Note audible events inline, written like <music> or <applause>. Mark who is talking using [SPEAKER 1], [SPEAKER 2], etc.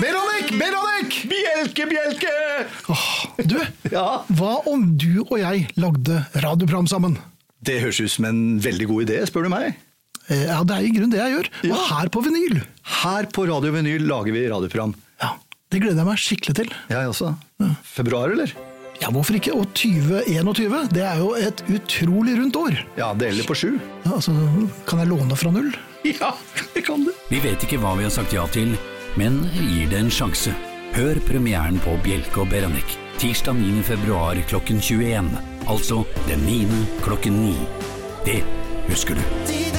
[SPEAKER 1] Veronik! Veronik!
[SPEAKER 2] Bjelke, bjelke!
[SPEAKER 1] Du,
[SPEAKER 2] Ja.
[SPEAKER 1] hva om du og jeg lagde radioprogram sammen?
[SPEAKER 2] Det høres ut som en veldig god idé, spør du meg.
[SPEAKER 1] Eh, Ja, det er i grunnen det jeg gjør. Og
[SPEAKER 2] Ja.
[SPEAKER 1] her på vinyl.
[SPEAKER 2] Her på Radio Vinyl lager vi radioprogram.
[SPEAKER 1] Ja, Det gleder jeg meg skikkelig til.
[SPEAKER 2] Jeg også. Februar, eller?
[SPEAKER 1] Ja, hvorfor ikke? Og 2021, det er jo et utrolig rundt år.
[SPEAKER 2] Ja, deler på sju. <laughs>
[SPEAKER 1] Ja, altså, kan jeg låne fra null?
[SPEAKER 2] Ja, det kan du.
[SPEAKER 3] Vi vet ikke hva vi har sagt ja til, men gir det en sjanse. Hør premieren på Bjelke og Beranek tirsdag 9. februar klokken 21. Altså den 9. klokken 9. Det husker du.
[SPEAKER 4] De